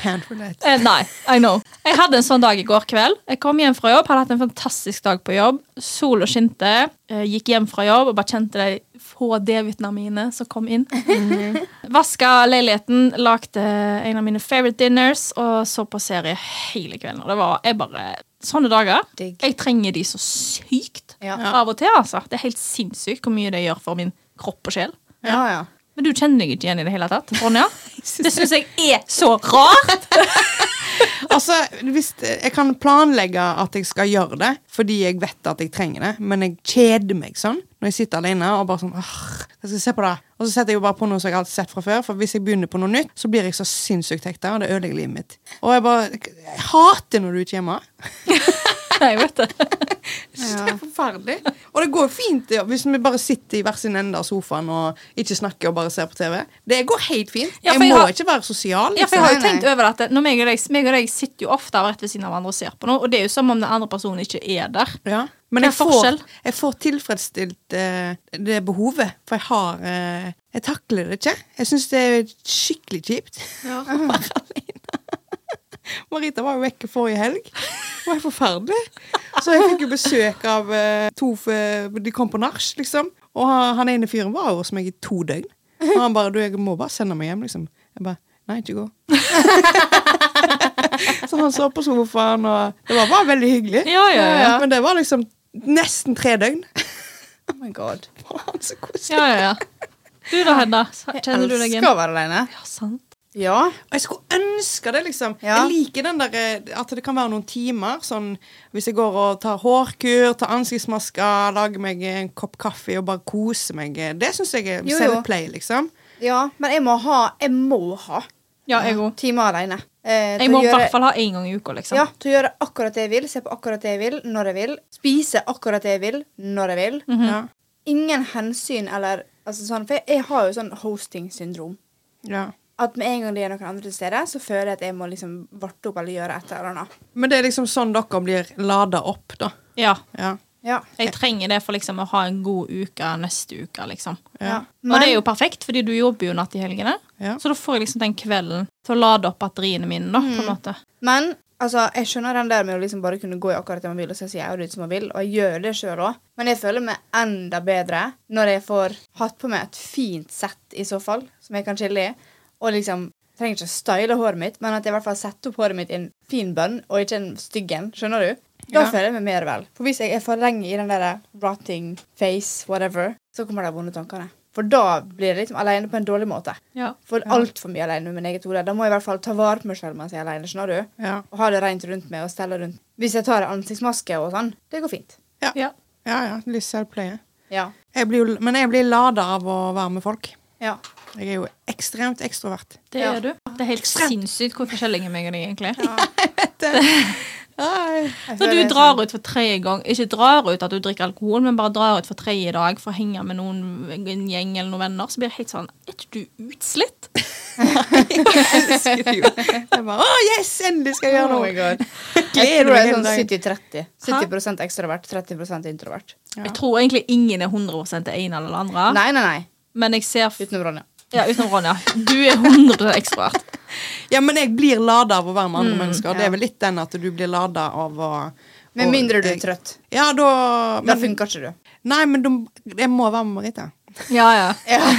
Can't relate.
Eh, nei, I know. Jeg hadde en sånn dag i går kveld. Jeg kom hjem fra jobb, hadde hatt en fantastisk dag på jobb. Sola skinte. eh, Gikk hjem fra jobb og bare kjente de få D-vitaminene som kom inn. Mhm. *laughs* Vaska leiligheten, lagde en av mine favorite dinners og så på serie hele kvelden. Og det var jeg bare Sånne dager.
Digg.
Jeg trenger de så sykt
Ja.
av og til, altså. Det er helt sinnssykt hvor mye det gjør for min kropp og sjel.
Ja,
*laughs*
ja.
Men du kjenner deg ikke igjen i det hele tatt, Ronja. Det syns *laughs* jeg er så rart!
Altså, hvis, jeg kan planlegge at jeg skal gjøre det, fordi jeg vet at jeg trenger det, men jeg kjeder meg sånn når jeg sitter alene og bare sånn Åh, jeg skal se på det. Og så setter jeg jo bare på noe som jeg har sett fra før, for hvis jeg begynner på noe nytt, så blir jeg så sinnssykt hekta, og det ødelegger livet mitt. Og jeg bare Jeg hater når du ikke er hjemme.
*laughs* Nei, vet du.
Jeg synes Det er forferdelig. Og det går jo fint ja, hvis vi bare sitter i hver sin ende av sofaen og ikke snakker og bare ser på TV. Det går helt fint.
Ja, for
jeg
jeg
må
har-
ikke være sosial. liksom.
Ja, for jeg har jo
Nei, nei.
tenkt over dette Når meg og deg, meg og deg sitter jo ofte rett ved siden av hverandre og ser på noe, og det er jo som om den andre personen ikke er der.
Ja. Men
Hva
jeg
er
får,
forskjell?
jeg får tilfredsstilt eh, det behovet, for jeg har eh, Jeg takler det ikke. Jeg syns det er skikkelig kjipt å være alene. Marita var jo vekke forrige helg. Det var helt forferdelig. Så jeg fikk jo besøk av eh, to f- De kom på nach, liksom. Og han, han ene fyren var jo hos meg i to døgn. Og han bare 'Du, jeg må bare sende meg hjem', liksom. Jeg bare 'Nei, ikke gå'. *laughs* Så han så på sofaen, og det var bare veldig hyggelig.
*laughs* Ja, ja, ja.
Men det var liksom nesten tre døgn. *laughs*
Oh my god.
Faen, så koselig.
Ja, ja, ja. Du da, Hedda? Kjenner du deg
Jeg
igjen?
elsker å være alene.
Ja, sant.
Ja.
Og jeg skulle ønske det, liksom.
Ja.
Jeg liker den der, eh, at det kan være noen timer. Sånn, hvis jeg går og tar hårkur, tar ansiktsmasker, lager meg en kopp kaffe og bare koser meg. Det syns jeg er
Jo, jo.
selvplay, liksom.
ja. Men jeg må ha Jeg må ha
Ja, jeg òg.
timer alene. Eh, til
Jeg må
å
i
gjøre-
hvert fall ha én gang i uka, liksom.
Ja, til å gjøre akkurat det jeg vil, se på akkurat det jeg vil, når jeg vil. Spise akkurat det jeg vil, når jeg vil.
Mhm.
ja.
Ingen hensyn eller altså sånn, For jeg, jeg har jo sånn hosting-syndrom.
Ja.
At med en gang det er noen andre til stede, så føler jeg at jeg må liksom varte opp eller gjøre et eller annet.
Men det er liksom sånn dere blir lada opp, da.
Ja.
Ja.
Ja.
Jeg trenger det for liksom å ha en god uke neste uke, liksom.
ja.
og det er jo perfekt, fordi du jobber jo natt i helgene.
Ja.
Så da får jeg liksom den kvelden til å lade opp batteriene mine, da,
Mm.
på en måte.
Men altså, jeg skjønner den der med å liksom bare kunne gå i akkurat det man vil, og så ser jeg ut som man vil, og jeg gjør det sjøl òg. Men jeg føler meg enda bedre når jeg får hatt på meg et fint sett i så fall, som jeg kan chille i, og liksom trenger ikke å style håret mitt, men at jeg i hvert fall setter opp håret mitt i en fin bønn, og ikke en stygg en. Skjønner du? Da
Ja.
føler jeg meg mer vel. For hvis jeg er for lenge i den der rotting face, whatever, så kommer de vonde tankene. For da blir jeg liksom aleine på en dårlig måte.
Ja.
For altfor mye aleine med min eget hode. Da må jeg i hvert fall ta vare på meg sjøl mens jeg er aleine. Skjønner du?
Ja.
og ha det rent rundt meg og stelle rundt. Hvis jeg tar ansiktsmaske og sånn, det går fint.
Ja.
ja, ja. Litt selvplay.
Ja.
Jeg blir jo, men jeg blir lada av å være med folk.
Ja.
Jeg er jo ekstremt ekstrovert.
Det
Ja.
gjør du. Det er helt sinnssykt hvor forskjellige meg og deg egentlig er.
Det, Nei.
Når du drar ut for tredje gang, ikke drar ut at du drikker alkohol, men bare drar ut for tredje dag for å henge med noen, en gjeng eller noen venner, så blir det helt sånn Er ikke du utslitt?
Jeg elsker det jo. Jeg bare Å, yes! Endelig skal jeg gjøre
Oh my
noe.
god. Jeg
*laughs* Gleder
tror det er
meg
sånn
hele dagen.
70-30. 70 ekstrovert, 30 introvert.
Jeg tror egentlig ingen er 100 det ene eller det andre,
Nei, nei, nei.
men jeg ser f
Utenom Ronja.
ja, Utenom Ronja. Du er 100 ekstrovert.
Ja, men jeg blir lada av å være med andre mennesker. Det
Mm, ja.
er vel litt den at du blir lada av å
Med
og-
mindre du er
jeg-
trøtt.
Ja, da
Da
men,
funker ikke du.
Nei, men de, jeg må være med Marita.
Ja, ja.
Ja.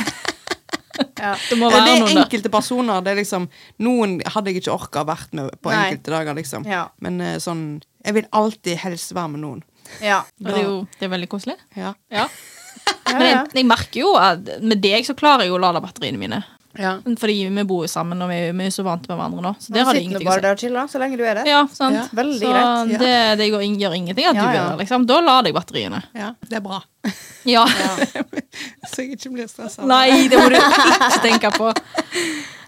*laughs* ja.
Det må
Det
være
er
noen der.
enkelte personer. Det er liksom, noen hadde jeg ikke orka å vært med på
Nei.
enkelte dager, liksom.
Ja.
Men eh, sånn Jeg vil alltid helst være med noen.
ja.
Og Det er jo det er veldig koselig.
Ja.
Ja.
ja,
Men
ja.
jeg, jeg merker jo at med deg så klarer jeg jo å lade batteriene mine. Fordi vi bor jo sammen, og vi, vi er jo så vant med hverandre nå. Så der har det
Sitt nå
ingenting å
bare
si.
der og chill, da, så lenge du er der.
Ja, sant?
Ja.
Veldig
så
greit,
ja.
det, det går, ing- gjør ingenting at
Ja,
du er
ja.
der, liksom. Da lader jeg batteriene.
Ja, det er bra.
Ja.
*laughs* Så jeg ikke blir stressa.
*laughs* Nei, det må du ikke tenke på.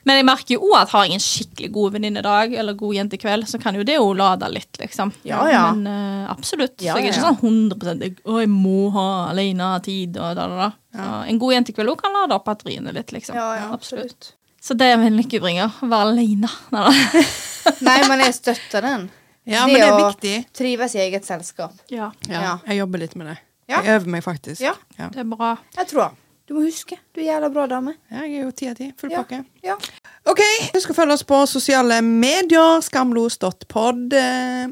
Men jeg merker jo også at har jeg en skikkelig god venninnedag eller god jentekveld, så kan jo det jo lade litt, liksom.
Ja, ja.
Men eh, absolutt.
Ja,
så jeg er ikke
ja, ja.
sånn 100 jeg- Å, jeg må ha alene tid og da, da, da. Så En god jentekveld også kan lade opp batteriene litt, liksom.
Ja, ja,
Så det er min lykkebringer. Å være alene. Nei, da.
Nei, men jeg støtter den.
Ja, men det er viktig.
å trives i eget selskap.
Ja,
Ja.
*laughs* Ja.
Jeg jobber litt med det.
Ja.
Jeg øver meg faktisk.
Ja.
Ja.
det er bra.
Jeg tror han. Du må huske, du er jævla bra dame.
Ja, jeg er jo ti av ti. Full
Ja.
pakke.
Ja.
OK, husk å følge oss på sosiale medier. Skamlos.pod. Eh,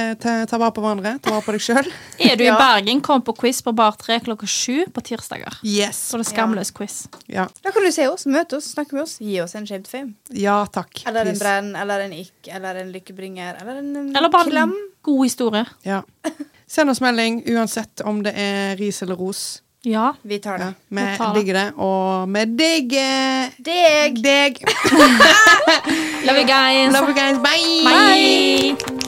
eh, ta, ta vare på hverandre. Ta vare på deg sjøl.
Er du
Ja.
i Bergen, kom på quiz på Bar 3 klokka sju på tirsdager.
Yes.
Så det er skamløs quiz.
Ja,
Da kan du se oss, møte oss, snakke med oss, gi oss en shamed fame.
ja takk.
Eller en
Please.
brenn, eller en ikk, eller en lykkebringer, eller en um,
Eller bare en
klem.
god historie.
Ja. Send oss melding uansett om det er ris eller ros.
Ja.
Vi tar det.
Ja, vi
Vi tar det.
digger det, og vi digger
Deg!
deg.
Love you guys.
Love you guys. Bye.
Bye.